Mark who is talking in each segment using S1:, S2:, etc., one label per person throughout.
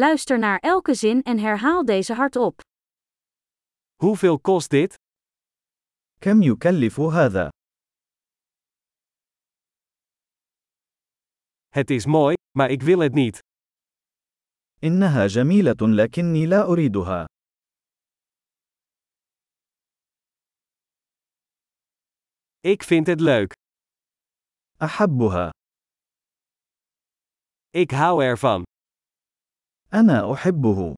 S1: Luister naar elke zin en herhaal deze hardop.
S2: hoeveel kost dit?
S3: كم يكلف هذا؟
S2: Het is mooi, maar ik wil het niet.
S3: إنها جميلة لكني لا أريدها.
S2: Ik vind het leuk.
S3: أحبها.
S2: Ik hou ervan.
S3: أنا أحبه.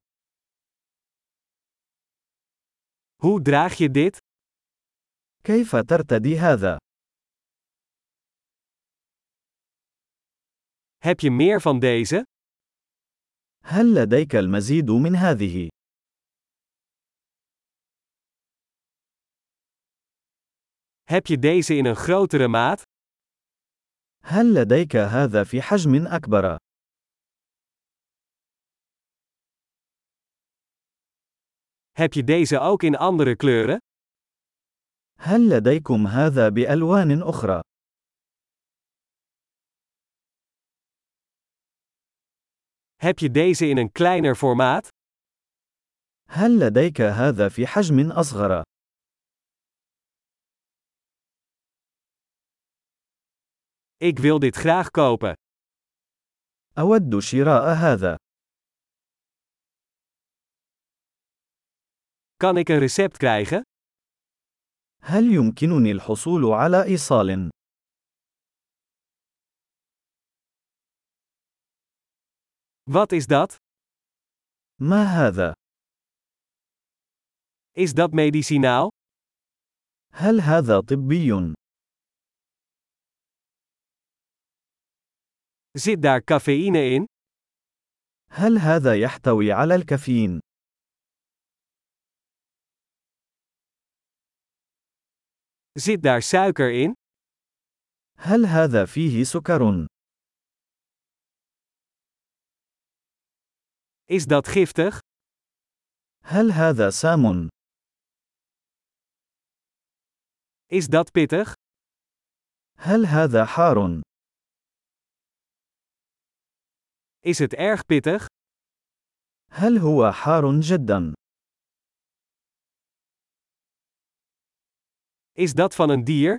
S2: Hoe draag je dit?
S3: كيف ترتدي هذا؟
S2: Heb je meer van deze?
S3: هل لديك المزيد من هذه؟
S2: Heb je deze in een grotere maat?
S3: هل لديك هذا في حجم أكبر؟
S2: Heb je deze ook in andere kleuren?
S3: هل لديكم هذا بألوان أخرى؟
S2: Heb je deze in een kleiner formaat?
S3: هل لديك هذا في حجم أصغر؟
S2: Ik wil dit graag kopen.
S3: أود شراء هذا.
S2: Kan ik een recept krijgen?
S3: هل يمكنني الحصول على إيصال؟
S2: Wat is dat?
S3: ما هذا؟
S2: Is dat medicinaal?
S3: هل هذا طبي؟
S2: Zit daar cafeïne in?
S3: هل هذا يحتوي على الكافيين؟
S2: Zit daar suiker in?
S3: هل هذا فيه سكر؟
S2: Is dat giftig?
S3: هل هذا سام؟
S2: Is dat pittig?
S3: هل هذا حار؟
S2: Is het erg pittig?
S3: هل هو حار جدا؟
S2: Is dat van een dier?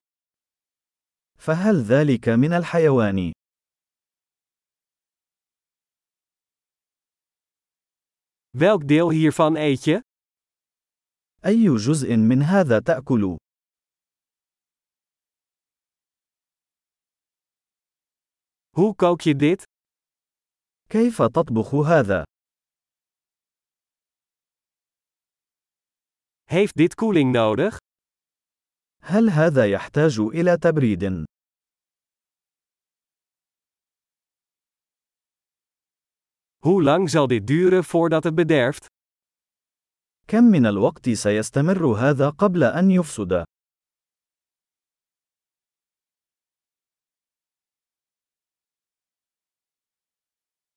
S3: فهل ذلك من الحيوان؟
S2: Welk deel hiervan eet je?
S3: أي جزء من هذا تأكل؟
S2: Hoe kook je dit?
S3: كيف تطبخ هذا؟
S2: Heeft dit koeling nodig?
S3: هل هذا يحتاج إلى تبريد؟
S2: Hoe lang zal dit duren voordat het bederft?
S3: كم من الوقت سيستمر هذا قبل أن يفسد؟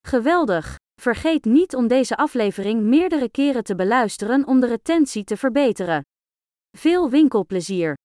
S1: Geweldig! Vergeet niet om deze aflevering meerdere keren te beluisteren om de retentie te verbeteren. Veel winkelplezier!